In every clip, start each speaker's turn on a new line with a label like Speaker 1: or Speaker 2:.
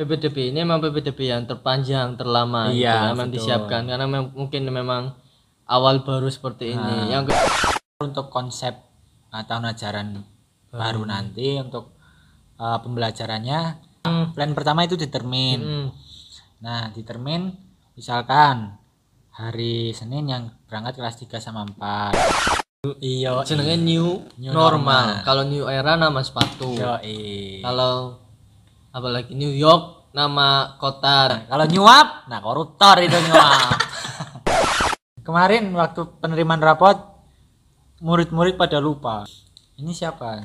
Speaker 1: PPDB ini memang PPDB yang terpanjang terlama gitu
Speaker 2: Iya,
Speaker 1: ya, memang
Speaker 2: betul.
Speaker 1: disiapkan karena mem- mungkin memang awal baru seperti ini yang ke-
Speaker 2: untuk konsep uh, tahun ajaran baru nanti untuk uh, pembelajarannya plan pertama itu determin
Speaker 1: Hmm,
Speaker 2: Nah, determin misalkan hari Senin yang berangkat kelas 3 sama 4. Iya,
Speaker 1: jenenge new, normal
Speaker 2: New
Speaker 1: Iya.
Speaker 2: normal.
Speaker 1: kalau new era nama sepatu
Speaker 2: Yo,
Speaker 1: kalau apalagi New York nama kota
Speaker 2: Kalau nyuap, nah koruptor itu nyuap. Kemarin waktu penerimaan rapot, murid-murid pada lupa. Ini siapa?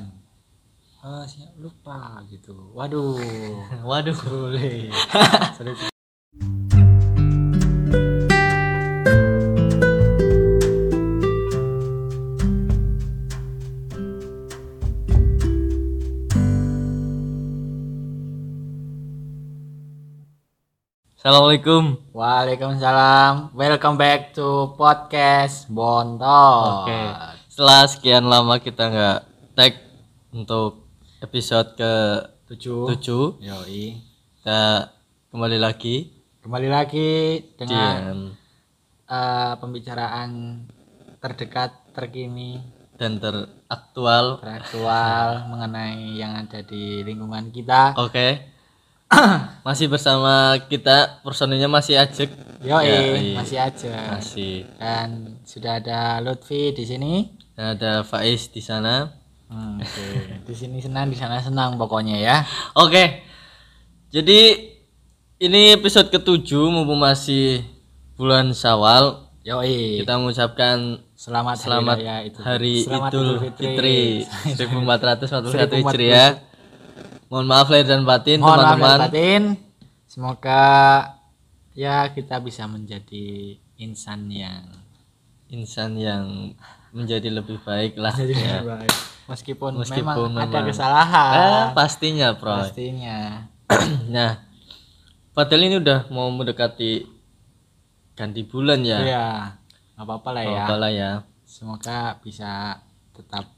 Speaker 2: Eh, siapa? lupa gitu. Waduh.
Speaker 1: waduh
Speaker 2: Boleh. Sulit.
Speaker 1: Assalamualaikum
Speaker 2: Waalaikumsalam. Welcome back to podcast Bontot.
Speaker 1: Oke. Setelah sekian lama kita nggak tag untuk episode ke
Speaker 2: 7.
Speaker 1: 7
Speaker 2: Yoi.
Speaker 1: kita kembali lagi
Speaker 2: Kembali lagi
Speaker 1: di
Speaker 2: dengan eh, pembicaraan terdekat, terkini,
Speaker 1: dan teraktual.
Speaker 2: teraktual mengenai yang ada di lingkungan kita.
Speaker 1: Oke. masih bersama kita personilnya masih ajek.
Speaker 2: Yoi,
Speaker 1: Ya,
Speaker 2: masih aja.
Speaker 1: masih.
Speaker 2: Dan sudah ada Lutfi di sini.
Speaker 1: Dan ada Faiz di sana.
Speaker 2: Hmm, oke. di sini senang, di sana senang pokoknya ya.
Speaker 1: Oke. Jadi ini episode ketujuh mumpung masih bulan Syawal,
Speaker 2: Yoi.
Speaker 1: kita mengucapkan
Speaker 2: Selamat,
Speaker 1: selamat
Speaker 2: hari raya itu.
Speaker 1: hari
Speaker 2: Selamat
Speaker 1: Idul Fitri 1441
Speaker 2: 1441
Speaker 1: Hijriah. Mohon maaf lahir dan batin
Speaker 2: Mohon maaf lahir
Speaker 1: teman-teman.
Speaker 2: batin. Semoga ya kita bisa menjadi insan yang
Speaker 1: Insan yang menjadi lebih baik lah.
Speaker 2: jadi
Speaker 1: ya.
Speaker 2: baik. Meskipun, memang,
Speaker 1: Meskipun
Speaker 2: ada
Speaker 1: memang- Ah,
Speaker 2: kesalahan
Speaker 1: pastinya, Bro.
Speaker 2: pastinya.
Speaker 1: nah, padahal ini udah mau mendekati ganti bulan
Speaker 2: Ya,
Speaker 1: ya.
Speaker 2: nggak apa-apa lah ya.
Speaker 1: Apalah ya.
Speaker 2: Semoga bisa tetap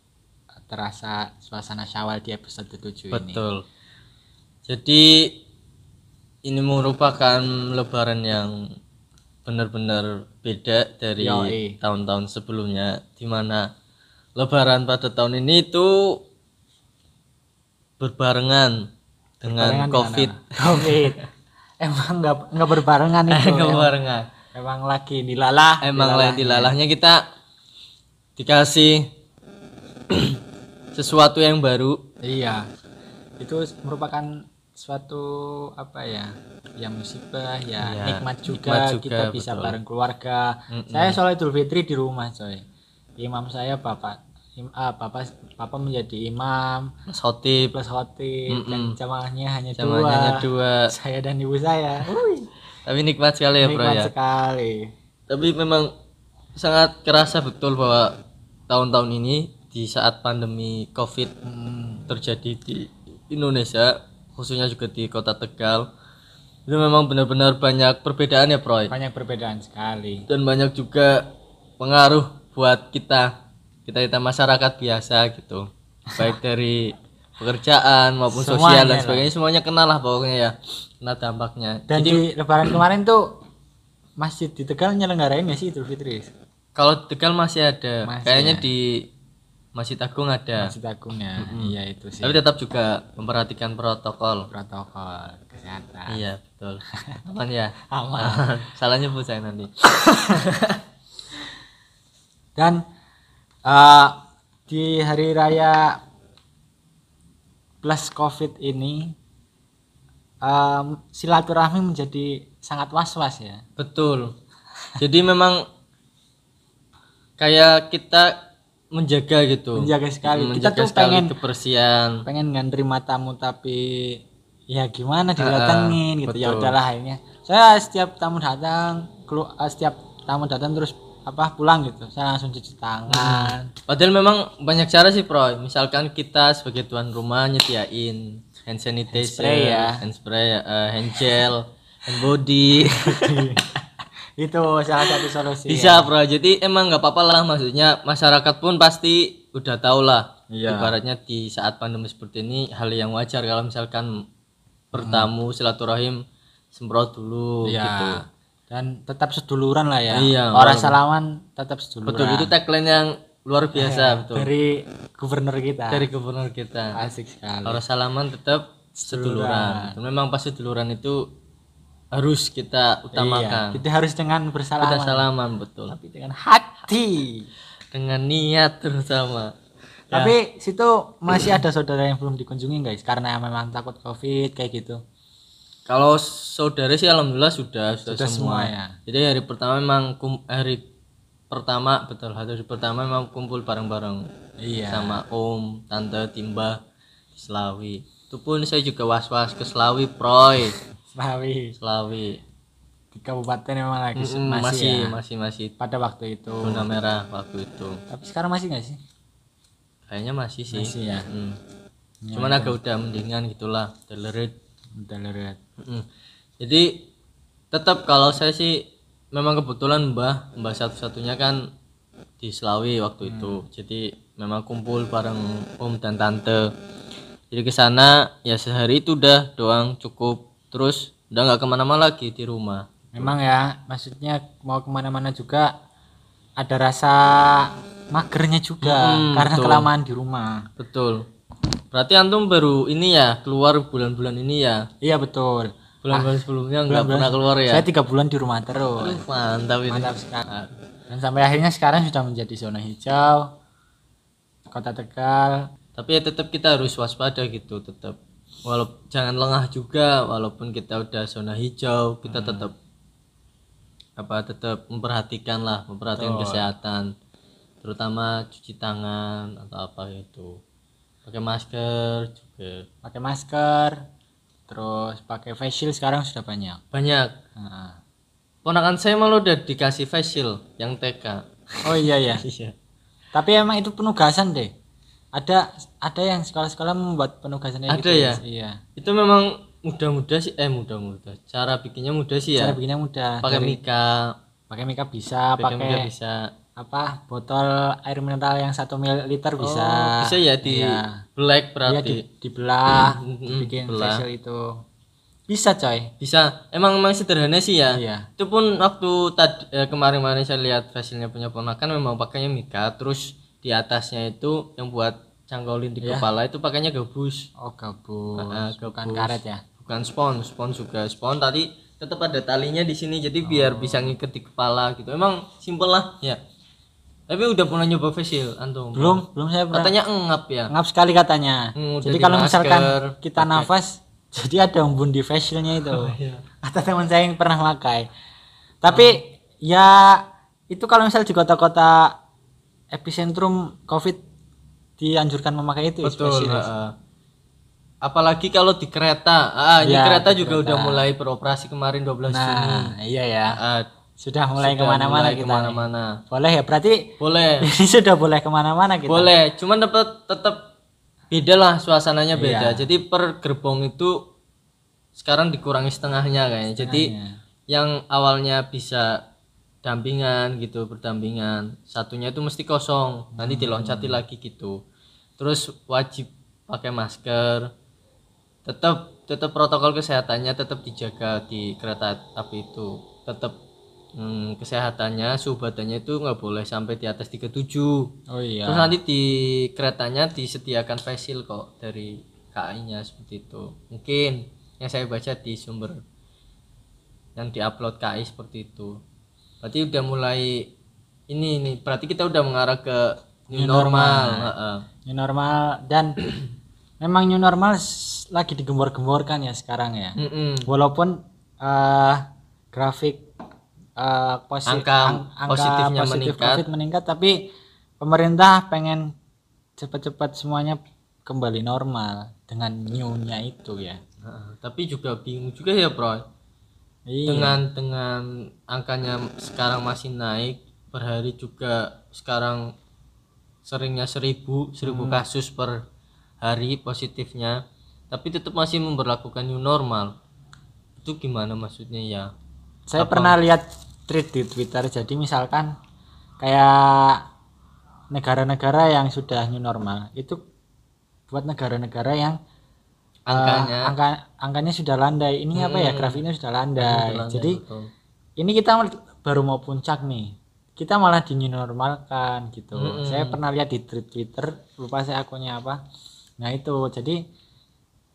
Speaker 2: terasa suasana Syawal di episode 7 ini.
Speaker 1: Betul. Jadi ini merupakan lebaran yang benar-benar beda dari
Speaker 2: Yoi.
Speaker 1: tahun-tahun sebelumnya di mana lebaran pada tahun ini itu berbarengan dengan
Speaker 2: Barengan
Speaker 1: Covid.
Speaker 2: gimana? Covid. Emang nggak nggak berbarengan itu. emang,
Speaker 1: Berbarengan.
Speaker 2: emang lagi dilalah.
Speaker 1: Eh, Emang lah dilalahnya kita dikasih sesuatu yang baru
Speaker 2: Iya, itu merupakan suatu apa ya, ya musibah, ya
Speaker 1: Iya,
Speaker 2: nikmat juga,
Speaker 1: nikmat juga,
Speaker 2: kita bisa
Speaker 1: betul.
Speaker 2: bareng keluarga. Saya soal Idul Fitri di rumah coy. Imam saya bapak, im, ah, bapak bapak menjadi imam
Speaker 1: Mas Khotib
Speaker 2: plus khotib dan jamaahnya hanya
Speaker 1: namanya hanya
Speaker 2: dua.
Speaker 1: dua
Speaker 2: Saya dan ibu saya. Wuih,
Speaker 1: tapi nikmat sekali ya bro
Speaker 2: nikmat
Speaker 1: ya
Speaker 2: sekali.
Speaker 1: tapi memang sangat kerasa betul bahwa tahun-tahun ini di saat pandemi covid
Speaker 2: Hmm,
Speaker 1: terjadi di Indonesia khususnya juga di kota Tegal itu memang benar-benar banyak perbedaan ya Proy
Speaker 2: banyak perbedaan sekali.
Speaker 1: dan banyak juga pengaruh buat kita kita kita masyarakat biasa gitu baik dari pekerjaan maupun sosial
Speaker 2: Semuanya
Speaker 1: dan
Speaker 2: lah.
Speaker 1: sebagainya semuanya kena lah pokoknya ya kena dampaknya
Speaker 2: Dan
Speaker 1: jadi
Speaker 2: di Lebaran kemarin tuh masjid di Tegal nyelenggarain nggak sih Idul Fitri?
Speaker 1: kalau Tegal masih ada
Speaker 2: Masih ya.
Speaker 1: kayaknya di Masjid Agung ada
Speaker 2: Masjid Agung ya, iya itu sih.
Speaker 1: tapi tetap juga memperhatikan protokol
Speaker 2: protokol kesehatan
Speaker 1: iya betul aman ya
Speaker 2: Ah. aman
Speaker 1: Aman. salah nyebut saya nanti
Speaker 2: dan eh, di hari raya plus covid ini em, silaturahmi menjadi sangat was was ya
Speaker 1: Betul. Jadi memang kayak kita menjaga gitu.
Speaker 2: Menjaga sekali. Kita
Speaker 1: Menjaga
Speaker 2: tuh
Speaker 1: sekali
Speaker 2: pengen-
Speaker 1: kebersihan.
Speaker 2: pengen ngantri matamu tapi ya gimana didatengin gitu ya
Speaker 1: betul.
Speaker 2: udahlah akhirnya saya setiap tamu datang kelu- eh, setiap tamu datang terus apa pulang gitu saya langsung cuci tangan
Speaker 1: Padahal memang banyak cara sih, Pro. Misalkan kita sebagai tuan rumah nyediain hand sanitizer,
Speaker 2: Handspray ya.
Speaker 1: handspray, eh, hand gel, hand body.
Speaker 2: itu salah satu solusi
Speaker 1: Mm. Bisa, Pro. Jadi emang nggak apa-apa lah maksudnya masyarakat pun pasti udah tau lah.
Speaker 2: Iya.
Speaker 1: Ibaratnya di saat pandemi seperti ini hal yang wajar kalau misalkan bertamu silaturahim semprot dulu
Speaker 2: Hmm. Iya.
Speaker 1: gitu.
Speaker 2: Dan tetap seduluran lah ya.
Speaker 1: Iya,
Speaker 2: Orang
Speaker 1: walaupun-
Speaker 2: salaman tetap seduluran.
Speaker 1: Betul itu tagline yang luar biasa
Speaker 2: Iya.
Speaker 1: betul
Speaker 2: Dari gubernur kita.
Speaker 1: dari gubernur kita.
Speaker 2: Asik sekali.
Speaker 1: Harus salaman tetap seduluran. Memang pas seduluran itu harus kita
Speaker 2: Iya,
Speaker 1: utamakan.
Speaker 2: kita harus dengan
Speaker 1: Kita
Speaker 2: bersalaman
Speaker 1: salaman betul.
Speaker 2: tapi dengan hati.
Speaker 1: Dengan niat terutama. Ya.
Speaker 2: Tapi situ masih ada saudara yang belum dikunjungi guys karena memang takut covid kayak gitu.
Speaker 1: Kalau saudara sih alhamdulillah sudah sudah,
Speaker 2: Sudah ya.
Speaker 1: semua.
Speaker 2: semuanya.
Speaker 1: Jadi hari pertama memang kum- hari pertama betul hari pertama memang kumpul bareng-bareng
Speaker 2: Iya.
Speaker 1: sama om, tante, timba di Selawi. Itu pun saya juga was-was ke Selawi, Proy.
Speaker 2: Selawi
Speaker 1: Selawi.
Speaker 2: di kabupaten memang lagi
Speaker 1: Mm,
Speaker 2: masih,
Speaker 1: masih,
Speaker 2: ya,
Speaker 1: masih masih
Speaker 2: pada waktu itu.
Speaker 1: zona merah waktu itu.
Speaker 2: Tapi sekarang masih nggak sih?
Speaker 1: Kayaknya masih sih.
Speaker 2: Masih ya.
Speaker 1: Mm. Cuman agak udah mendingan gitulah, tolerate.
Speaker 2: Udah leret.
Speaker 1: Mm. Jadi tetap kalau saya sih memang kebetulan Mbah Mbah satu-satunya kan di Selawi waktu itu. Jadi memang kumpul bareng om dan tante. Jadi ke sana ya sehari itu udah doang cukup. Terus udah nggak kemana-mana lagi di rumah.
Speaker 2: Memang ya, maksudnya mau kemana-mana juga ada rasa magernya juga
Speaker 1: Mm,
Speaker 2: karena
Speaker 1: betul.
Speaker 2: kelamaan di rumah.
Speaker 1: Betul. Berarti antum baru ini ya keluar bulan-bulan ini ya.
Speaker 2: Iya betul.
Speaker 1: Bulan-bulan sebelumnya nggak pernah keluar ya.
Speaker 2: Saya tiga bulan di rumah terus.
Speaker 1: Aduh, mantap ini.
Speaker 2: Mantap sekali. Dan sampai akhirnya sekarang sudah menjadi zona hijau. Kota Tegal.
Speaker 1: tapi ya tetap kita harus waspada gitu tetap walaupun jangan lengah juga walaupun kita udah zona hijau kita
Speaker 2: Hmm.
Speaker 1: tetap apa tetap memperhatikan lah memperhatikan kesehatan terutama cuci tangan atau apa itu pakai masker juga
Speaker 2: Pakai masker. Terus pakai face shield sekarang sudah banyak.
Speaker 1: banyak
Speaker 2: Nah.
Speaker 1: ponakan saya malah udah dikasih facial yang TK
Speaker 2: Oh iya ya.
Speaker 1: iya
Speaker 2: Tapi emang itu penugasan deh. Ada ada yang sekolah-sekolah membuat penugasan
Speaker 1: Ada
Speaker 2: kayak gitu,
Speaker 1: ya?
Speaker 2: Mas. Iya.
Speaker 1: itu memang mudah-mudah sih eh mudah-mudah cara bikinnya mudah sih ya
Speaker 2: Cara bikinnya mudah.
Speaker 1: pakai mika
Speaker 2: Pakai makeup bisa,
Speaker 1: pakai
Speaker 2: pakai
Speaker 1: mika bisa
Speaker 2: apa? Botol air mineral yang satu mililiter bisa.
Speaker 1: Oh, bisa ya di
Speaker 2: Iya.
Speaker 1: black
Speaker 2: Iya,
Speaker 1: berarti.
Speaker 2: di- dibelah,
Speaker 1: Mm, mm,
Speaker 2: bikin
Speaker 1: belah.
Speaker 2: facial itu. Bisa, coy.
Speaker 1: Bisa. Emang emang sederhana sih ya.
Speaker 2: Iya.
Speaker 1: Itu pun waktu tadi eh, kemarin-kemarin saya lihat hasilnya punya ponakan memang pakainya mika, terus di atasnya itu yang buat cangkolin
Speaker 2: Iya.
Speaker 1: di kepala itu pakainya gabus,
Speaker 2: Oh gabus,
Speaker 1: Ah, ah,
Speaker 2: bukan
Speaker 1: gabus.
Speaker 2: karet ya?
Speaker 1: bukan spons. Spons juga spons tadi tetap ada talinya di sini jadi biar
Speaker 2: Oh.
Speaker 1: bisa ngiket di kepala gitu. Emang simpel lah ya. Tapi udah pernah nyoba facial antum?
Speaker 2: Belum, belum saya pernah.
Speaker 1: Katanya engap ya.
Speaker 2: Ngap sekali katanya.
Speaker 1: Hmm, udah
Speaker 2: jadi
Speaker 1: di
Speaker 2: kalau
Speaker 1: masker,
Speaker 2: misalkan kita nafas, jadi ada embun di facialnya itu.
Speaker 1: Oh, iya.
Speaker 2: Ada teman saya yang pernah
Speaker 1: Oh.
Speaker 2: pakai. Tapi ya itu kalau misal di kota-kota epicentrum COVID dianjurkan memakai itu.
Speaker 1: Betul.
Speaker 2: facial.
Speaker 1: heeh. Apalagi kalau di kereta. Ah, ini
Speaker 2: Ya,
Speaker 1: kereta
Speaker 2: di
Speaker 1: juga
Speaker 2: kereta.
Speaker 1: udah mulai beroperasi kemarin 12 Juni.
Speaker 2: Nah, iya ya.
Speaker 1: Ah,
Speaker 2: Sudah mulai
Speaker 1: sudah
Speaker 2: kemana-mana
Speaker 1: mulai
Speaker 2: kita. nih.
Speaker 1: kemana-mana.
Speaker 2: Boleh ya, berarti
Speaker 1: Boleh,
Speaker 2: ini sudah boleh kemana-mana kita.
Speaker 1: boleh. Cuman dapat tetap beda lah suasananya beda.
Speaker 2: Iya.
Speaker 1: Jadi per gerbong itu sekarang dikurangi setengahnya kayaknya. Jadi
Speaker 2: Setengahnya.
Speaker 1: yang awalnya bisa dampingan gitu berdampingan satunya itu mesti kosong nanti
Speaker 2: Hmm.
Speaker 1: diloncati lagi gitu terus wajib pakai masker tetap tetap protokol kesehatannya tetap dijaga di kereta api itu tetap mm, kesehatannya suhu badannya itu nggak boleh sampai di atas 37
Speaker 2: Oh iya.
Speaker 1: terus nanti di keretanya disediakan facial kok dari KAI-nya seperti itu mungkin yang saya baca di sumber yang diupload KAI seperti itu berarti udah mulai ini nih berarti kita udah mengarah ke new,
Speaker 2: New
Speaker 1: normal, heeh.
Speaker 2: new normal dan memang new normal s- lagi digembor-gemborkan ya sekarang ya
Speaker 1: Mm-mm.
Speaker 2: walaupun eh, grafik eh, posi-
Speaker 1: Angka positifnya meningkat.
Speaker 2: COVID meningkat tapi pemerintah pengen cepat-cepat semuanya kembali normal dengan new-nya itu ya
Speaker 1: Heeh. tapi juga bingung juga ya bro
Speaker 2: iya
Speaker 1: dengan dengan angkanya sekarang masih naik per hari juga sekarang seringnya seribu seribu
Speaker 2: Hmm.
Speaker 1: kasus per hari positifnya tapi tetap masih memperlakukan new normal itu gimana maksudnya ya
Speaker 2: saya pernah lihat tweet di Twitter jadi misalkan kayak negara-negara yang sudah new normal itu buat negara-negara yang
Speaker 1: Angkanya.
Speaker 2: eh, angka angkanya sudah landai. Ini apa ya?
Speaker 1: Hmm.
Speaker 2: Grafiknya sudah
Speaker 1: Betul,
Speaker 2: landai.
Speaker 1: Anda,
Speaker 2: Jadi
Speaker 1: betul.
Speaker 2: ini kita mal- baru mau puncak nih. Kita malah di new normal kan gitu.
Speaker 1: Mm-mm.
Speaker 2: Saya pernah lihat di tweet Twitter, lupa saya akunnya apa. Nah, itu. Jadi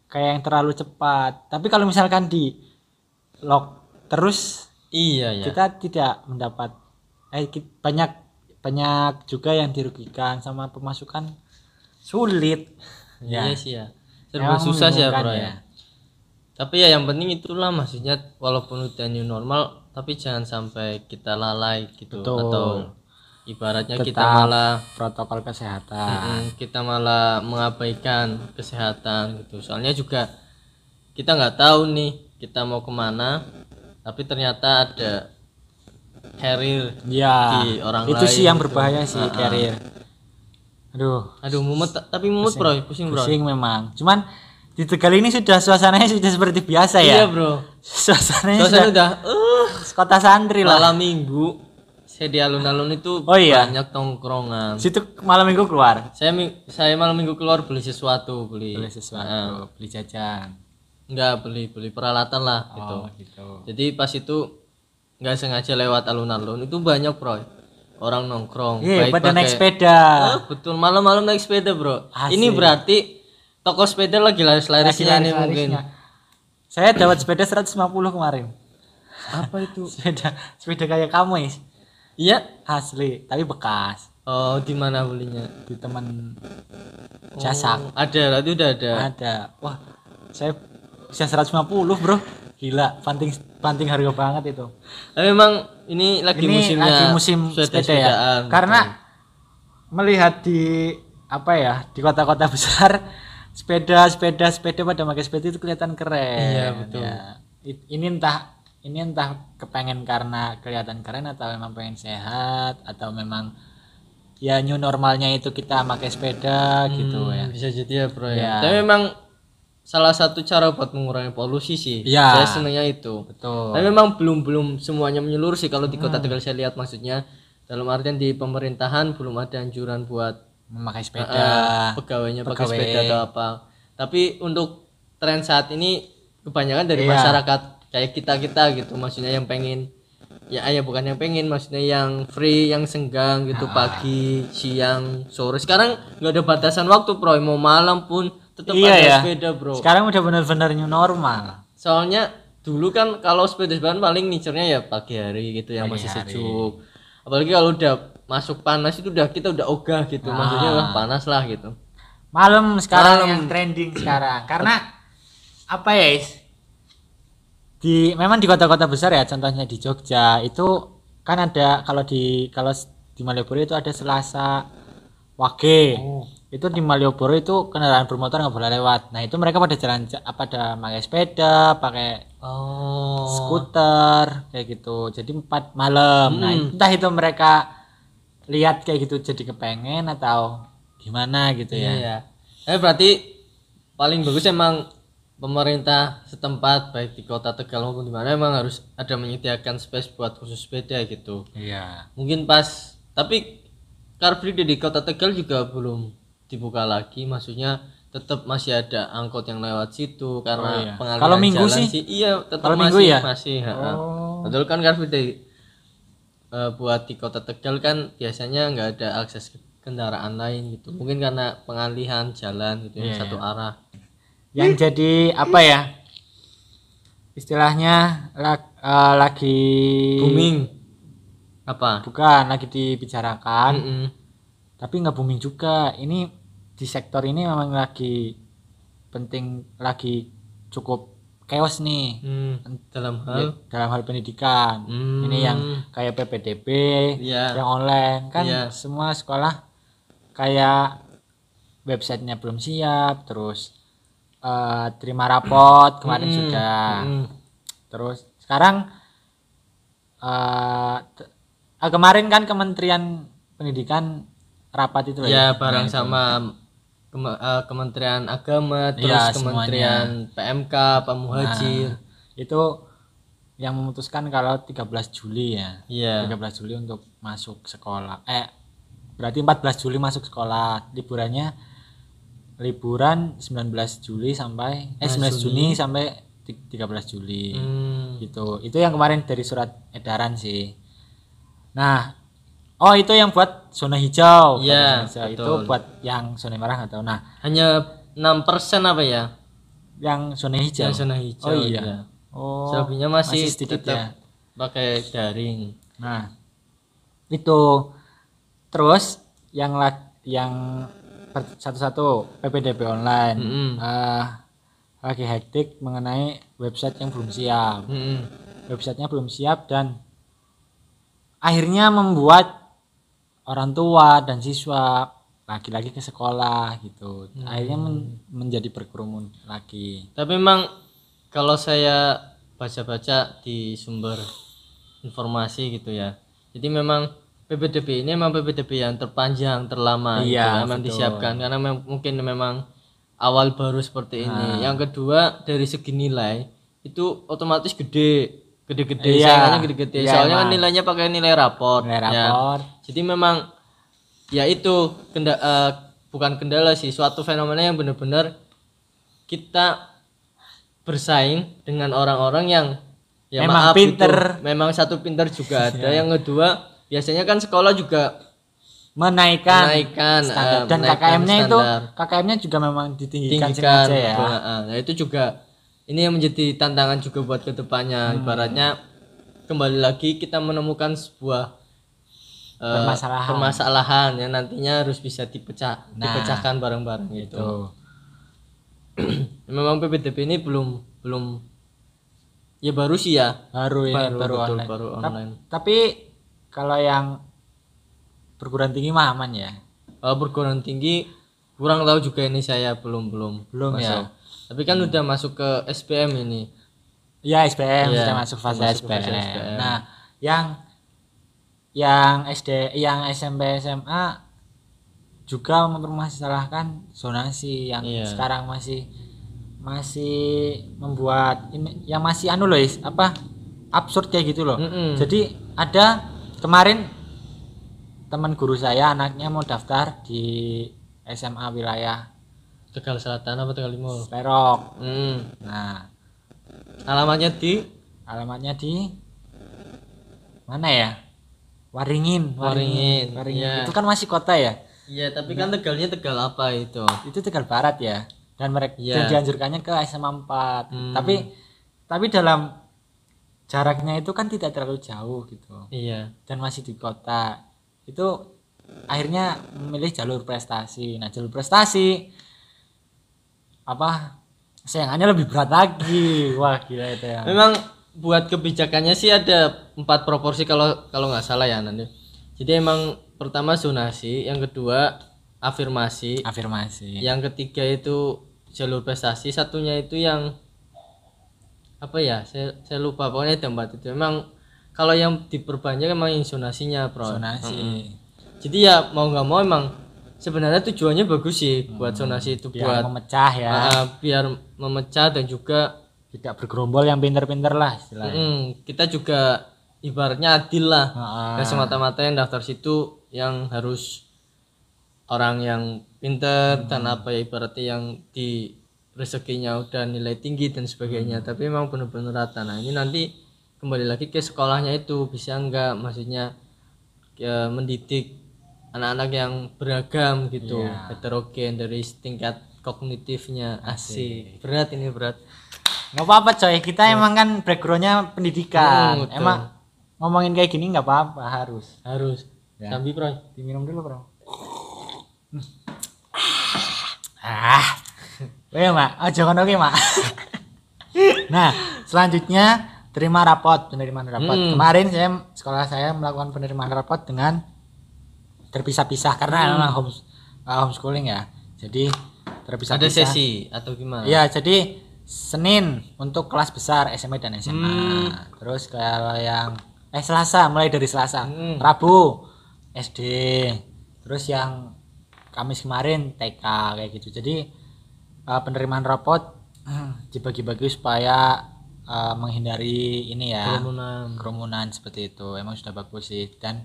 Speaker 2: kayak yang terlalu cepat. Tapi kalau misalkan di lock terus
Speaker 1: iya ya
Speaker 2: kita tidak mendapat eh, ki- banyak banyak juga yang dirugikan sama pemasukan sulit
Speaker 1: iya
Speaker 2: Ya.
Speaker 1: sih ya serba
Speaker 2: Emang
Speaker 1: susah sih ya bro
Speaker 2: membingungkan
Speaker 1: ya. tapi ya yang penting itulah maksudnya walaupun udah new normal tapi jangan sampai kita lalai gitu
Speaker 2: Betul.
Speaker 1: atau ibaratnya kita
Speaker 2: Tetap. Nah.
Speaker 1: malah
Speaker 2: protokol kesehatan
Speaker 1: Mm, kita malah mengabaikan kesehatan gitu soalnya juga kita nggak tahu nih kita mau kemana tapi ternyata ada carrier
Speaker 2: ya
Speaker 1: Di orang
Speaker 2: itu sih
Speaker 1: lain
Speaker 2: yang
Speaker 1: gitu.
Speaker 2: berbahaya sih
Speaker 1: Ah-ah.
Speaker 2: karir aduh
Speaker 1: aduh mumet ta- tapi mumet bro pusing bro
Speaker 2: pusing memang cuman di Tegal ini sudah suasananya sudah seperti biasa
Speaker 1: iya
Speaker 2: ya
Speaker 1: bro
Speaker 2: suasananya
Speaker 1: soalnya
Speaker 2: sudah
Speaker 1: udah eh,
Speaker 2: kota santri lah
Speaker 1: malam minggu saya di alun-alun itu
Speaker 2: Oh, iya.
Speaker 1: banyak tongkrongan
Speaker 2: situ malam minggu keluar
Speaker 1: saya mi- saya malam minggu keluar beli sesuatu beli,
Speaker 2: beli
Speaker 1: Ah.
Speaker 2: sesuatu beli jajan
Speaker 1: nggak beli beli peralatan lah gitu
Speaker 2: oh gitu
Speaker 1: Jadi pas itu nggak sengaja lewat alun-alun itu banyak bro orang nongkrong.
Speaker 2: Iya,
Speaker 1: Baik
Speaker 2: pada naik
Speaker 1: pakai-
Speaker 2: sepeda
Speaker 1: Ah, betul malam-malam naik sepeda bro.
Speaker 2: Asik.
Speaker 1: Ini berarti toko sepeda lagi laris-larisnya nih mungkin.
Speaker 2: Laris-larisnya. Saya dapat sepeda 150 kemarin.
Speaker 1: Apa itu?
Speaker 2: Sepeda sepeda kayak kamu Is.
Speaker 1: Iya.
Speaker 2: Asli, tapi bekas.
Speaker 1: Oh di mana belinya?
Speaker 2: Di teman
Speaker 1: Oh,
Speaker 2: jasa
Speaker 1: Ada, itu udah ada.
Speaker 2: ada. Wah, saya bisa 150, Bro. Gila, panting panting harga banget itu.
Speaker 1: Tapi memang ini lagi
Speaker 2: Ini
Speaker 1: musimnya
Speaker 2: lagi musim sepeda, ya.
Speaker 1: sepeda-sepedaan,
Speaker 2: Karena melihat di apa ya, di kota-kota besar sepeda sepeda sepeda pada pakai sepeda itu kelihatan keren.
Speaker 1: Iya, betul.
Speaker 2: ya. I- Ini entah ini entah kepengen karena kelihatan keren atau memang pengen sehat atau memang ya new normalnya itu kita pakai sepeda
Speaker 1: betul.
Speaker 2: gitu
Speaker 1: Hmm,
Speaker 2: ya.
Speaker 1: Bisa jadi ya bro
Speaker 2: Iya.
Speaker 1: ya. Tapi memang salah satu cara buat mengurangi polusi sih.
Speaker 2: Iya.
Speaker 1: Saya senangnya itu.
Speaker 2: Betul. Hmm.
Speaker 1: Tapi memang belum belum semuanya menyeluruh sih kalau di kota Tegal saya lihat maksudnya dalam artian di pemerintahan belum ada anjuran buat
Speaker 2: Memakai sepeda.
Speaker 1: eh, pegawainya pakai
Speaker 2: Iya. Pegawai.
Speaker 1: sepeda atau apa. Tapi untuk tren saat ini kebanyakan dari
Speaker 2: Iya.
Speaker 1: masyarakat kayak kita kita gitu maksudnya yang pengen ya ya bukan yang pengen maksudnya yang free yang senggang gitu
Speaker 2: Ah.
Speaker 1: pagi siang sore sekarang nggak ada batasan waktu bro mau malam pun tetap
Speaker 2: Iya
Speaker 1: ada
Speaker 2: ya.
Speaker 1: sepeda bro
Speaker 2: Sekarang udah benar-benar new normal.
Speaker 1: soalnya dulu kan kalau sepeda sepedaan paling ngincernya ya pagi hari gitu yang
Speaker 2: Pagi
Speaker 1: masih
Speaker 2: hari.
Speaker 1: sejuk apalagi kalau udah masuk panas itu udah kita udah ogah gitu
Speaker 2: Ah.
Speaker 1: maksudnya udah panas lah gitu
Speaker 2: Malam sekarang
Speaker 1: Malam.
Speaker 2: yang trending sekarang karena apa ya is di memang di kota-kota besar ya contohnya di Jogja itu kan ada kalau di kalau s- di Malioboro itu ada Selasa Wage
Speaker 1: Oh.
Speaker 2: itu di Malioboro itu kendaraan bermotor nggak boleh lewat nah itu mereka pada jalan ja- pada pakai sepeda pakai
Speaker 1: oh
Speaker 2: skuter kayak gitu jadi empat malam nah
Speaker 1: Hmm.
Speaker 2: entah itu mereka lihat kayak gitu jadi kepengen atau gimana gitu
Speaker 1: iya
Speaker 2: ya
Speaker 1: ya eh berarti paling bagus emang pemerintah setempat baik di kota Tegal maupun di mana emang harus ada menyediakan space buat khusus sepeda gitu
Speaker 2: iya
Speaker 1: mungkin pas tapi car free day di kota Tegal juga belum dibuka lagi maksudnya tetap masih ada angkot yang lewat situ karena
Speaker 2: Oh, iya.
Speaker 1: pengalihan
Speaker 2: Kalau minggu
Speaker 1: jalan
Speaker 2: sih?
Speaker 1: iya tetap
Speaker 2: Kalau
Speaker 1: masih
Speaker 2: minggu ya?
Speaker 1: masih ha-ha.
Speaker 2: Oh.
Speaker 1: betul kan car free day eh, buat di kota Tegal kan biasanya nggak ada akses ke- kendaraan lain gitu mungkin karena pengalihan jalan gitu yang
Speaker 2: Iya,
Speaker 1: satu arah
Speaker 2: yang jadi apa ya istilahnya lag- eh, lagi
Speaker 1: booming apa
Speaker 2: bukan lagi dibicarakan
Speaker 1: Mm-mm.
Speaker 2: tapi nggak booming juga ini di sektor ini memang lagi penting lagi cukup chaos nih
Speaker 1: Hmm, dalam
Speaker 2: Ya,
Speaker 1: hal
Speaker 2: dalam hal pendidikan
Speaker 1: Hmm.
Speaker 2: ini yang kayak PPDB
Speaker 1: Iya.
Speaker 2: yang online kan
Speaker 1: Iya.
Speaker 2: semua sekolah kayak websitenya belum siap terus eh, terima rapot kemarin
Speaker 1: Mm-mm.
Speaker 2: sudah
Speaker 1: Mm-mm.
Speaker 2: terus sekarang eh, te- ah, kemarin kan Kementerian Pendidikan rapat itu loh
Speaker 1: Ya
Speaker 2: ya.
Speaker 1: bareng
Speaker 2: Nah, itu.
Speaker 1: sama kema- eh, Kementerian Agama terus
Speaker 2: Iya,
Speaker 1: Kementerian PMK Pak Muhajir.
Speaker 2: Nah, itu yang memutuskan kalau 13 Juli ya
Speaker 1: Iya.
Speaker 2: 13 Juli untuk masuk sekolah. Eh, berarti 14 Juli masuk sekolah. Liburannya liburan 19 Juli sampai eh 19 Juni sampai ti- 13 Juli
Speaker 1: Hmm.
Speaker 2: gitu itu yang kemarin dari surat edaran sih nah oh itu yang buat zona hijau Buat
Speaker 1: Iya,
Speaker 2: zona hijau. itu
Speaker 1: betul.
Speaker 2: buat yang zona merah atau nah
Speaker 1: Hanya 6% apa ya?
Speaker 2: yang zona hijau
Speaker 1: Yang zona hijau.
Speaker 2: oh iya
Speaker 1: iya.
Speaker 2: oh
Speaker 1: Selebihnya masih,
Speaker 2: sedikit
Speaker 1: tetap
Speaker 2: ya
Speaker 1: pakai daring.
Speaker 2: Nah, itu terus yang la- yang per- satu-satu PPDB online
Speaker 1: Mm-mm.
Speaker 2: Eh, lagi hektik mengenai website yang belum siap,
Speaker 1: Mm-mm.
Speaker 2: websitenya belum siap dan akhirnya membuat orang tua dan siswa lagi-lagi ke sekolah gitu, akhirnya
Speaker 1: Hmm.
Speaker 2: men- menjadi berkerumun lagi.
Speaker 1: Tapi memang kalau saya baca-baca di sumber informasi gitu ya. Jadi memang PPDB ini memang PPDB yang terpanjang, terlama gitu ya,
Speaker 2: Iya,
Speaker 1: memang
Speaker 2: betul.
Speaker 1: disiapkan karena mem- mungkin memang awal baru seperti ini.
Speaker 2: Ah.
Speaker 1: Yang kedua dari segi nilai itu otomatis gede, gede-gede,
Speaker 2: Iya.
Speaker 1: saingannya gede-gede.
Speaker 2: Iya,
Speaker 1: Soalnya kan
Speaker 2: emang.
Speaker 1: nilainya pakai nilai rapor.
Speaker 2: Nilai
Speaker 1: ya.
Speaker 2: rapor.
Speaker 1: Jadi memang ya itu kenda- eh, bukan kendala sih, suatu fenomena yang benar-benar kita bersaing dengan orang-orang yang ya
Speaker 2: Memang
Speaker 1: maaf gitu.
Speaker 2: pinter. Iya.
Speaker 1: memang satu pinter juga ada yang kedua biasanya kan sekolah juga
Speaker 2: Menaikkan
Speaker 1: menaikkan
Speaker 2: Kan, standar
Speaker 1: eh,
Speaker 2: dan
Speaker 1: menaikkan
Speaker 2: KKM-nya itu
Speaker 1: standar.
Speaker 2: KKM-nya juga memang ditinggikan
Speaker 1: tinggikan
Speaker 2: sengaja ya.
Speaker 1: betul, ah. Nah, itu juga ini yang menjadi tantangan juga buat
Speaker 2: Hmm.
Speaker 1: kedepannya ibaratnya kembali lagi kita menemukan sebuah eh,
Speaker 2: Permasalahan.
Speaker 1: permasalahan yang nantinya harus bisa dipecah
Speaker 2: Nah.
Speaker 1: dipecahkan bareng-bareng gitu
Speaker 2: Tuh.
Speaker 1: memang PPDB ini belum belum ya baru sih ya
Speaker 2: Baru ini baru,
Speaker 1: Baru, betul,
Speaker 2: online.
Speaker 1: baru
Speaker 2: Tap-
Speaker 1: online.
Speaker 2: tapi kalau yang perguruan tinggi mah aman ya.
Speaker 1: kalau perguruan tinggi kurang tahu juga ini saya belum belum
Speaker 2: Belum ya.
Speaker 1: tapi kan udah masuk ke SPM ini
Speaker 2: Iya, SPM
Speaker 1: Iya,
Speaker 2: sudah masuk fase
Speaker 1: masuk ke
Speaker 2: SPM.
Speaker 1: fase SPM.
Speaker 2: Nah, yang yang SD, yang SMP, SMA juga mempermasalahkan zonasi yang
Speaker 1: Iya.
Speaker 2: sekarang masih masih membuat ini yang masih anu loh Is, apa absurd kayak gitu loh.
Speaker 1: Mm-mm.
Speaker 2: Jadi ada kemarin teman guru saya anaknya mau daftar di SMA wilayah
Speaker 1: Tegal Selatan apa Tegal Timur
Speaker 2: Perok.
Speaker 1: Hmm.
Speaker 2: Nah,
Speaker 1: Alamatnya di
Speaker 2: alamatnya di mana ya Waringin
Speaker 1: Waringin,
Speaker 2: Waringin
Speaker 1: iya.
Speaker 2: itu kan masih kota ya
Speaker 1: Iya, tapi kan Tegalnya Tegal apa itu?
Speaker 2: itu Tegal Barat ya dan mereka
Speaker 1: Iya.
Speaker 2: dan dianjurkannya ke SMA 4
Speaker 1: Hmm.
Speaker 2: tapi tapi dalam jaraknya itu kan tidak terlalu jauh gitu
Speaker 1: Iya.
Speaker 2: dan masih di kota itu akhirnya memilih jalur prestasi nah jalur prestasi apa sayangannya lebih berat lagi wah gila itu ya
Speaker 1: Ah. Memang buat kebijakannya sih ada empat proporsi kalau kalau nggak salah ya nanti. Jadi emang pertama zonasi, yang kedua
Speaker 2: Ah,
Speaker 1: afirmasi,
Speaker 2: afirmasi
Speaker 1: yang ketiga itu jalur prestasi, satunya itu yang apa ya? Saya, saya lupa pokoknya ada empat itu. Memang kalau yang diperbanyak emang yang zonasinya, Bro.
Speaker 2: zonasi
Speaker 1: Jadi ya mau nggak mau emang sebenarnya tujuannya bagus sih buat zonasi itu buat
Speaker 2: biar memecah ya
Speaker 1: Ah, biar memecah dan juga
Speaker 2: tidak bergerombol yang pinter-pinter lah istilahnya
Speaker 1: mm, kita juga ibaratnya adil lah
Speaker 2: Nah. Ah.
Speaker 1: nggak semata-mata yang daftar situ yang harus orang yang
Speaker 2: Hmm.
Speaker 1: pinter dan apa ya ibaratnya yang di rezekinya udah nilai tinggi dan sebagainya
Speaker 2: Hmm.
Speaker 1: tapi memang benar-benar rata nah ini nanti kembali lagi ke sekolahnya itu bisa nggak maksudnya ya, mendidik anak-anak yang beragam gitu
Speaker 2: Iya.
Speaker 1: heterogen dari tingkat kognitifnya asik berat ini berat
Speaker 2: nggak apa-apa coy kita emang kan backgroundnya
Speaker 1: Hmm, Iya.
Speaker 2: pendidikan
Speaker 1: betul.
Speaker 2: emang ngomongin kayak gini nggak apa-apa harus
Speaker 1: harus
Speaker 2: Ya.
Speaker 1: sambil proy
Speaker 2: diminum dulu bro ah Weh mak, oh jangan oke mak. nah, selanjutnya terima rapot penerimaan rapot.
Speaker 1: Hmm.
Speaker 2: Kemarin saya sekolah saya melakukan penerimaan rapot dengan terpisah-pisah karena memang homes- uh, homeschooling ya. Jadi terpisah-pisah.
Speaker 1: ada sesi atau gimana
Speaker 2: Iya, jadi Senin untuk kelas besar SMA dan SMA.
Speaker 1: Hmm.
Speaker 2: Terus kalau yang eh Selasa mulai dari Selasa,
Speaker 1: Hmm.
Speaker 2: Rabu SD. Terus yang Kamis kemarin TK kayak gitu. Jadi eh, penerimaan rapot dibagi-bagi supaya eh, menghindari ini ya
Speaker 1: kerumunan
Speaker 2: kerumunan seperti itu. Emang sudah bagus sih dan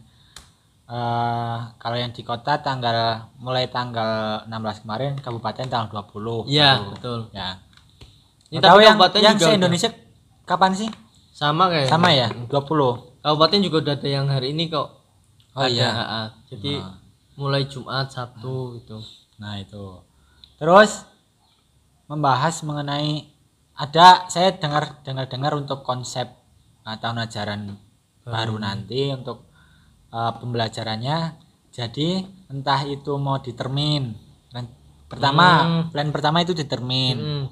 Speaker 2: eh, kalau yang di kota tanggal mulai tanggal 16 kemarin kabupaten tanggal 20
Speaker 1: Iya,
Speaker 2: Baru.
Speaker 1: betul.
Speaker 2: ya
Speaker 1: Ini
Speaker 2: Nggak tahu
Speaker 1: tapi
Speaker 2: yang
Speaker 1: kabupaten
Speaker 2: yang
Speaker 1: juga
Speaker 2: se
Speaker 1: udah-
Speaker 2: Indonesia kapan sih
Speaker 1: sama kayak
Speaker 2: sama ya 20 oh
Speaker 1: kabupaten juga udah ada yang hari ini kok ada,
Speaker 2: iya
Speaker 1: ha-ha. jadi mulai Jumat Sabtu gitu
Speaker 2: nah itu terus membahas mengenai ada saya dengar dengar dengar untuk konsep eh, tahun ajaran baru nanti untuk eh, pembelajarannya jadi entah itu mau ditermin pertama plan pertama itu ditermin
Speaker 1: Hmm.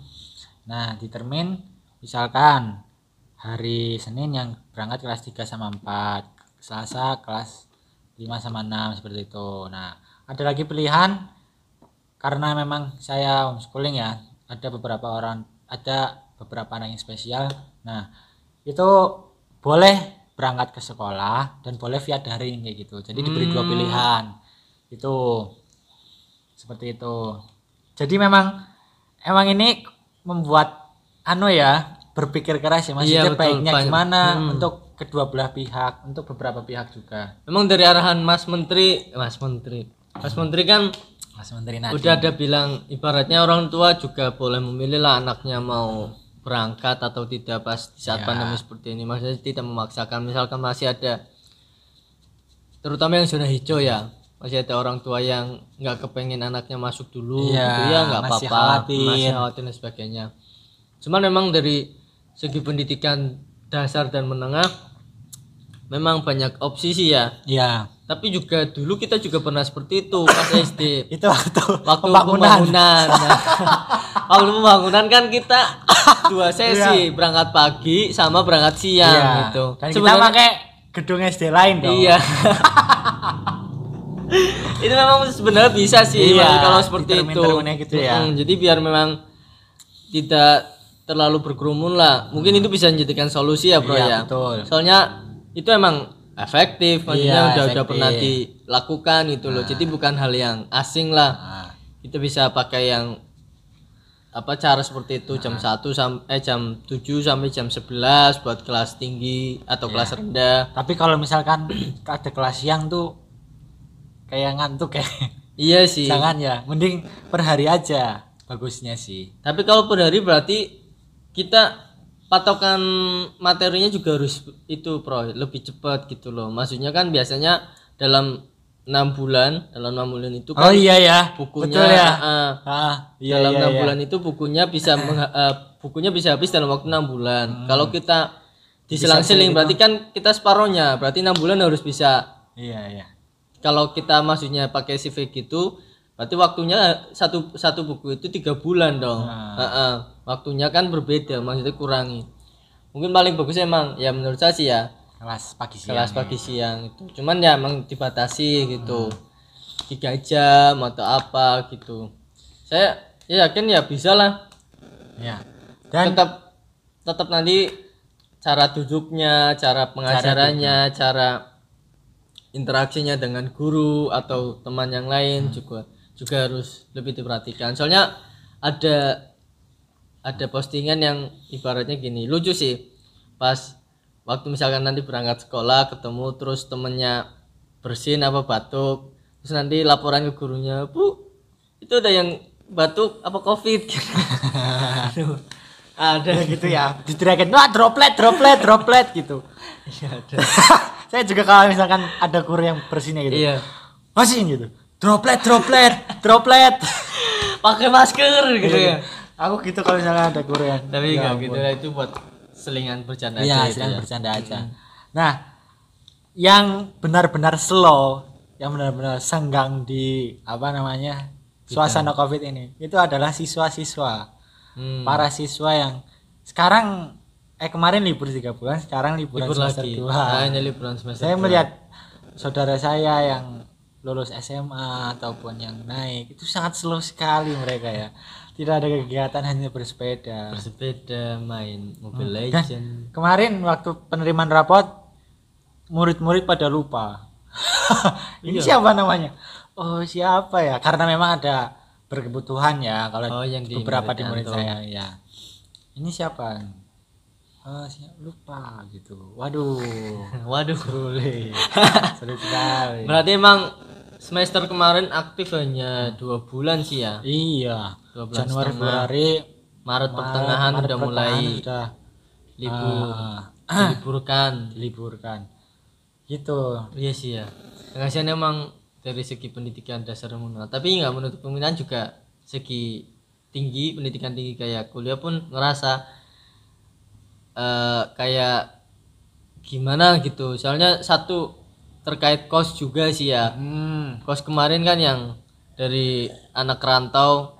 Speaker 2: Nah, di termin misalkan hari Senin yang berangkat kelas 3 sama 4, Selasa kelas 5 sama 6 seperti itu. Nah, ada lagi pilihan karena memang saya homeschooling ya, ada beberapa orang ada beberapa anak yang spesial. Nah, itu boleh berangkat ke sekolah dan boleh via daring kayak gitu. Jadi diberi dua pilihan. Itu seperti itu jadi memang emang ini membuat anu ya berpikir keras ya maksudnya
Speaker 1: Iya, betul.
Speaker 2: baiknya
Speaker 1: Banyak. Hmm.
Speaker 2: gimana untuk kedua belah pihak untuk beberapa pihak juga
Speaker 1: Emang dari arahan Mas Menteri, Mas Menteri, Mas Menteri kan
Speaker 2: Mas Menteri Nadiem
Speaker 1: udah ada bilang ibaratnya orang tua juga boleh memilih lah anaknya mau berangkat atau tidak pas di
Speaker 2: Ya.
Speaker 1: saat pandemi seperti ini. Maksudnya tidak memaksakan. Misalkan masih ada, terutama yang zona hijau ya, masih ada orang tua yang nggak kepengen anaknya masuk dulu,
Speaker 2: Iya,
Speaker 1: gitu ya nggak
Speaker 2: masih
Speaker 1: apa-apa,
Speaker 2: khawatir.
Speaker 1: masih khawatir dan sebagainya. Cuman memang dari segi pendidikan dasar dan menengah, memang banyak opsi sih ya.
Speaker 2: ya
Speaker 1: Tapi juga dulu kita juga pernah seperti itu pas SD.
Speaker 2: itu waktu,
Speaker 1: Waktu
Speaker 2: pembangunan
Speaker 1: pembangunan. Nah, waktu pembangunan kan kita dua sesi, berangkat pagi sama berangkat siang
Speaker 2: Iya.
Speaker 1: gitu.
Speaker 2: dan
Speaker 1: Sebenarnya-
Speaker 2: kita pakai gedung SD lain dong
Speaker 1: Iya. itu memang sebenarnya bisa sih
Speaker 2: Iya,
Speaker 1: Mas, kalau seperti itu.
Speaker 2: ditermin-terminnya gitu ya.
Speaker 1: Mm, jadi biar memang tidak terlalu berkerumun lah. Mungkin itu bisa menjadikan solusi ya, Bro
Speaker 2: Nah. Iya,
Speaker 1: ya.
Speaker 2: betul.
Speaker 1: Soalnya itu emang efektif, maksudnya udah
Speaker 2: Iya,
Speaker 1: udah
Speaker 2: efektif.
Speaker 1: pernah dilakukan gitu loh. Jadi bukan hal yang asing lah.
Speaker 2: Nah,
Speaker 1: Kita bisa pakai yang apa cara seperti itu
Speaker 2: Nah.
Speaker 1: jam 1 sampai eh jam 7 sampai jam 11 buat kelas tinggi
Speaker 2: Iya.
Speaker 1: atau kelas rendah.
Speaker 2: tapi kalau misalkan ada kelas siang tuh kayak ngantuk ya
Speaker 1: Iya sih.
Speaker 2: jangan ya mending per hari aja bagusnya sih
Speaker 1: Tapi kalau per hari berarti kita patokan materinya juga harus itu pro lebih cepat gitu loh. Maksudnya kan biasanya dalam enam bulan, dalam enam bulan itu kan
Speaker 2: oh iya ya
Speaker 1: bukunya
Speaker 2: betul ya
Speaker 1: eh,
Speaker 2: Ah, iya,
Speaker 1: dalam
Speaker 2: iya,
Speaker 1: enam
Speaker 2: iya.
Speaker 1: bulan itu bukunya bisa mengha- eh, bukunya bisa habis dalam waktu enam bulan.
Speaker 2: Hmm.
Speaker 1: Kalau kita diselang-seling berarti kan kita separohnya, berarti enam bulan harus bisa.
Speaker 2: Iya, iya.
Speaker 1: Kalau kita maksudnya pakai CV gitu, berarti waktunya eh, satu satu buku itu tiga bulan dong.
Speaker 2: Nah.
Speaker 1: Heeh. Waktunya kan berbeda, maksudnya kurangi. Mungkin paling bagus emang ya menurut saya sih ya
Speaker 2: Kelas pagi siang. ya. Hmm.
Speaker 1: kelas pagi siang itu. Cuman ya emang dibatasi gitu. Tiga jam atau apa gitu. Saya ya yakin ya bisa lah.
Speaker 2: Iya. Dan
Speaker 1: tetap tetap nanti cara duduknya, cara pengajarannya, cara interaksinya dengan guru atau teman yang lain juga juga harus lebih diperhatikan. Soalnya ada ada postingan yang ibaratnya gini lucu sih pas waktu misalkan nanti berangkat sekolah ketemu terus temennya bersin apa batuk terus nanti laporan ke gurunya bu itu ada yang batuk apa covid Aduh, ada
Speaker 2: gitu ya, diteriakin, wah droplet, droplet, droplet gitu. Saya juga kalau misalkan ada guru yang bersinya gitu.
Speaker 1: iya
Speaker 2: Masih gitu. Droplet, droplet, droplet.
Speaker 1: pakai masker gitu ya
Speaker 2: Aku gitu kalau misalkan ada guru yang
Speaker 1: tapi enggak gitu lah itu buat selingan bercanda aja
Speaker 2: Iya,
Speaker 1: gitu
Speaker 2: sedang
Speaker 1: ya.
Speaker 2: bercanda aja. Nah, yang benar-benar slow, yang benar-benar senggang di apa namanya suasana covid ini, itu adalah siswa-siswa,
Speaker 1: Hmm.
Speaker 2: para siswa yang sekarang eh kemarin libur tiga bulan, sekarang liburan
Speaker 1: libur
Speaker 2: semester
Speaker 1: lagi
Speaker 2: dua.
Speaker 1: nah, ini liburan semester
Speaker 2: Saya
Speaker 1: dua.
Speaker 2: melihat saudara saya yang lulus SMA ataupun yang naik itu sangat slow sekali mereka ya. Tidak ada kegiatan hanya bersepeda.
Speaker 1: bersepeda main mobile
Speaker 2: Dan
Speaker 1: legend
Speaker 2: kemarin waktu penerimaan rapot murid-murid pada lupa. Ini
Speaker 1: Iya.
Speaker 2: siapa namanya? Oh, siapa ya? Karena memang ada berkebutuhan ya
Speaker 1: Oh,
Speaker 2: kalau
Speaker 1: yang di
Speaker 2: beberapa
Speaker 1: murid
Speaker 2: di murid
Speaker 1: Anto.
Speaker 2: saya ya. Ini siapa? Eh, siap lupa gitu. Waduh.
Speaker 1: Waduh.
Speaker 2: Sulit. Sulit sekali.
Speaker 1: Berarti emang semester kemarin aktif hanya dua bulan sih ya.
Speaker 2: Iya.
Speaker 1: 12
Speaker 2: Januari
Speaker 1: setengah.
Speaker 2: Februari
Speaker 1: Maret
Speaker 2: Maret-
Speaker 1: pertengahan
Speaker 2: Maret
Speaker 1: udah mulai
Speaker 2: pertengahan sudah
Speaker 1: libur,
Speaker 2: ah,
Speaker 1: diliburkan.
Speaker 2: diliburkan. Gitu.
Speaker 1: Iya sih ya. Penghasilan emang dari segi pendidikan dasar menengah, tapi nggak menutup kemungkinan juga segi tinggi pendidikan tinggi kayak kuliah pun ngerasa eh kayak gimana gitu. Soalnya satu terkait kos juga sih ya.
Speaker 2: Hmm.
Speaker 1: Kos kemarin kan yang dari anak rantau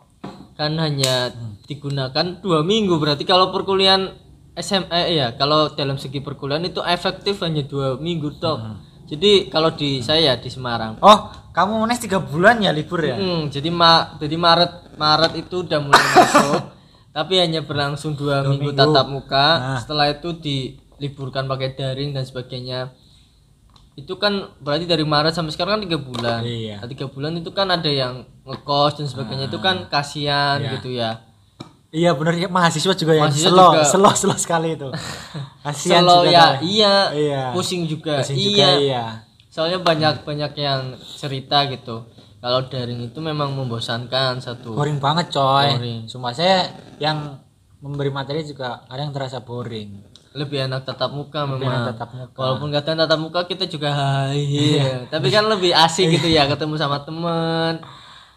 Speaker 1: kan hanya digunakan dua minggu berarti kalau perkuliahan SMA ya kalau dalam segi perkuliahan itu efektif hanya dua minggu tok. Jadi kalau di saya di Semarang.
Speaker 2: Oh, kamu UNES tiga bulan ya libur ya?
Speaker 1: Hmm, jadi ma jadi Maret Maret itu udah mulai masuk tapi hanya berlangsung dua, minggu,
Speaker 2: minggu.
Speaker 1: tatap muka.
Speaker 2: Nah.
Speaker 1: Setelah itu diliburkan pakai daring dan sebagainya. Itu kan berarti dari Maret sampai sekarang kan tiga bulan.
Speaker 2: Iya.
Speaker 1: Nah, tiga bulan itu kan ada yang ngekos dan sebagainya itu kan kasihan
Speaker 2: Iya.
Speaker 1: gitu ya
Speaker 2: Iya benar ya mahasiswa juga yang
Speaker 1: Mahasiswa
Speaker 2: slow,
Speaker 1: juga.
Speaker 2: slow, slow sekali itu. Kasihan
Speaker 1: Selo
Speaker 2: juga
Speaker 1: ya
Speaker 2: kan.
Speaker 1: iya,
Speaker 2: Iya.
Speaker 1: pusing juga
Speaker 2: Pusing
Speaker 1: iya
Speaker 2: juga, iya.
Speaker 1: soalnya banyak banyak yang cerita gitu kalau daring itu memang membosankan satu
Speaker 2: Boring banget coy.
Speaker 1: Boring.
Speaker 2: Sumpah saya yang memberi materi juga kadang terasa boring.
Speaker 1: lebih enak tatap muka
Speaker 2: Tapi
Speaker 1: memang
Speaker 2: tetap muka.
Speaker 1: walaupun kadang tatap muka kita juga hai iya. tapi kan lebih asik gitu ya ketemu sama temen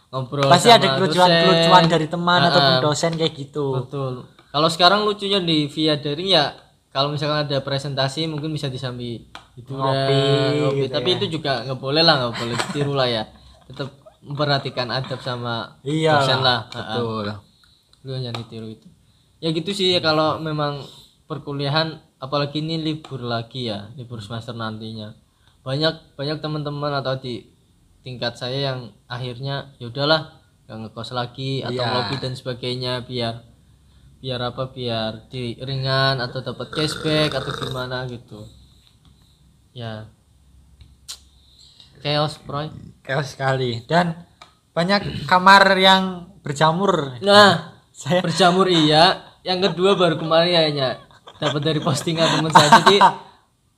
Speaker 1: ngobrol
Speaker 2: Pasti
Speaker 1: sama
Speaker 2: ada kelucuan-kelucuan
Speaker 1: dosen.
Speaker 2: dari teman
Speaker 1: Ah,
Speaker 2: ataupun
Speaker 1: ah.
Speaker 2: dosen kayak gitu.
Speaker 1: Betul. Kalau sekarang lucunya di via daring ya kalau misalkan ada presentasi mungkin bisa disambi hiburan,
Speaker 2: Ngopi,
Speaker 1: ngopi.
Speaker 2: gitu
Speaker 1: tapi itu juga nggak boleh lah nggak boleh ditiru lah ya tetap memperhatikan adab sama
Speaker 2: Iya
Speaker 1: dosen lah Ha-ha.
Speaker 2: Betul.
Speaker 1: lu jangan ditiru itu ya gitu sih ya kalau memang perkuliahan apalagi ini libur lagi ya libur semester nantinya banyak banyak teman-teman atau di tingkat saya yang akhirnya ya udahlah nggak ngekos lagi atau
Speaker 2: Iya.
Speaker 1: lobby dan sebagainya biar biar apa biar di ringan atau dapat cashback atau gimana gitu ya chaos bro
Speaker 2: Chaos sekali dan banyak kamar yang berjamur.
Speaker 1: nah
Speaker 2: Saya
Speaker 1: berjamur iya yang kedua baru kemarin kayaknya dapat dari postingan teman saya jadi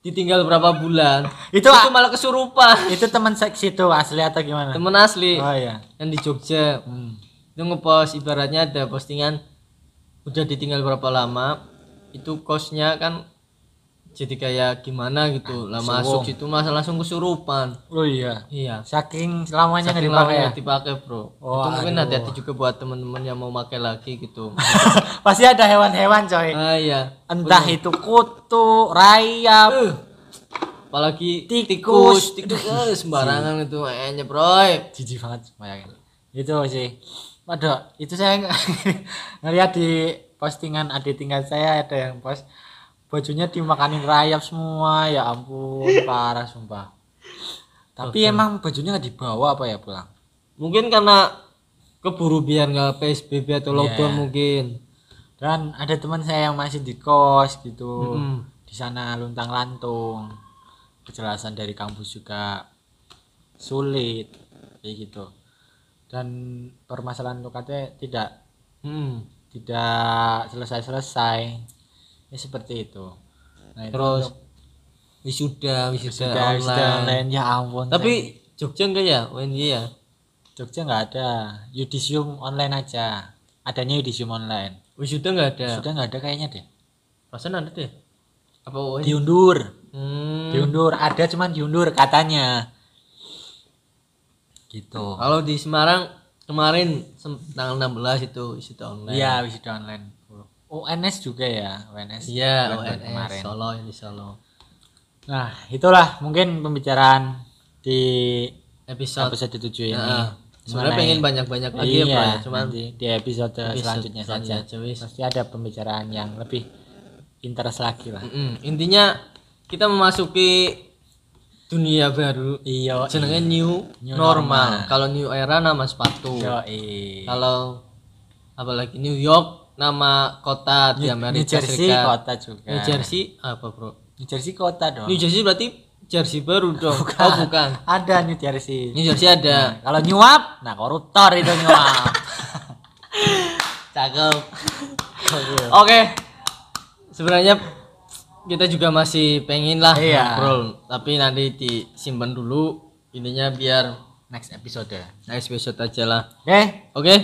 Speaker 1: ditinggal berapa bulan
Speaker 2: Itu
Speaker 1: itu malah kesurupan
Speaker 2: itu teman seksi tuh asli atau gimana?
Speaker 1: temen asli
Speaker 2: Oh iya.
Speaker 1: yang di Jogja
Speaker 2: Hmm.
Speaker 1: itu ngepost ibaratnya ada postingan udah ditinggal berapa lama itu kosnya kan jadi kayak gimana gitu lah masuk situ masa langsung kesurupan
Speaker 2: Oh iya.
Speaker 1: iya
Speaker 2: Saking selamanya nggak
Speaker 1: Saking lamanya
Speaker 2: dipakai ya? Oh,
Speaker 1: dipakai bro itu mungkin hati-hati juga buat temen-temen yang mau pakai lagi gitu
Speaker 2: Pasti ada hewan-hewan coy.
Speaker 1: ah iya
Speaker 2: Entah itu kutu, rayap,
Speaker 1: apalagi
Speaker 2: Eh. Tikus. iya.
Speaker 1: tikus tikus eh, sembarangan itu kayaknya broy
Speaker 2: jijik banget bayangin. Itu sih. Waduh, itu saya ng- ngeliat di postingan adik tingkat saya ada yang post bajunya dimakanin rayap semua. Ya ampun, parah sumpah. Tapi emang bajunya nggak dibawa apa ya pulang?
Speaker 1: mungkin karena keburu biar nggak psbb atau lockdown
Speaker 2: Iya.
Speaker 1: mungkin
Speaker 2: Dan ada teman saya yang masih di kos gitu.
Speaker 1: Mm-mm.
Speaker 2: Di sana luntang-lantung. Kejelasan dari kampus juga sulit kayak gitu. Dan permasalahan UKT tidak
Speaker 1: Hmm.
Speaker 2: tidak selesai-selesai. Ya seperti itu. Nah, itu
Speaker 1: terus
Speaker 2: untuk
Speaker 1: wisuda wisuda,
Speaker 2: wisuda-
Speaker 1: online.
Speaker 2: wisuda online. ya ampun.
Speaker 1: tapi Jogja enggak ya UNJ ya
Speaker 2: saya- Jogja nggak ada. Yudisium online aja. Adanya Yudisium online.
Speaker 1: wisuda enggak ada
Speaker 2: Sudah nggak ada kayaknya deh.
Speaker 1: perasaan ada deh apa UNJ
Speaker 2: Diundur.
Speaker 1: Hmm.
Speaker 2: diundur ada cuman diundur katanya gitu
Speaker 1: kalau di Semarang kemarin sem- tanggal 16 itu wisuda online
Speaker 2: iya wisuda online UNS juga ya UNS
Speaker 1: iya
Speaker 2: bulan-bulan
Speaker 1: UNS
Speaker 2: kemarin
Speaker 1: Solo yang di Solo
Speaker 2: nah itulah mungkin pembicaraan di
Speaker 1: episode
Speaker 2: episode 7 ini
Speaker 1: Heeh. sebenarnya
Speaker 2: Iya. Mengenai-
Speaker 1: pengen banyak-banyak lagi
Speaker 2: iya,
Speaker 1: ya Bro, ya. cuman
Speaker 2: nanti di episode,
Speaker 1: episode
Speaker 2: selanjutnya, saja
Speaker 1: selanjutnya, wis.
Speaker 2: pasti ada pembicaraan yang lebih interest lagi lah
Speaker 1: Mm-mm. intinya kita memasuki dunia baru
Speaker 2: iya
Speaker 1: jenenge new,
Speaker 2: New
Speaker 1: normal,
Speaker 2: normal.
Speaker 1: kalau new era nama sepatu
Speaker 2: iya
Speaker 1: kalau apalagi New York nama kota di Amerika
Speaker 2: New Jersey
Speaker 1: Serikat
Speaker 2: kota Oh. juga
Speaker 1: New Jersey apa bro
Speaker 2: New Jersey kota dong
Speaker 1: New Jersey berarti jersey baru dong oh bukan
Speaker 2: ada New Jersey
Speaker 1: New Jersey ada
Speaker 2: Kalau nyuap, nah koruptor itu nyuap.
Speaker 1: cakep oke sebenarnya kita juga masih pengen lah
Speaker 2: Iya.
Speaker 1: ngobrol, tapi nanti disimpan dulu ininya biar
Speaker 2: Next episode. ya.
Speaker 1: next episode aja lah.
Speaker 2: Oke,
Speaker 1: Oke,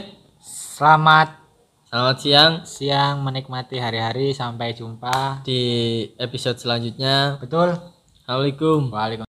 Speaker 2: selamat
Speaker 1: selamat siang
Speaker 2: siang menikmati hari-hari sampai jumpa.
Speaker 1: di episode selanjutnya.
Speaker 2: Betul?
Speaker 1: Assalamualaikum.
Speaker 2: Waalaikumsalam.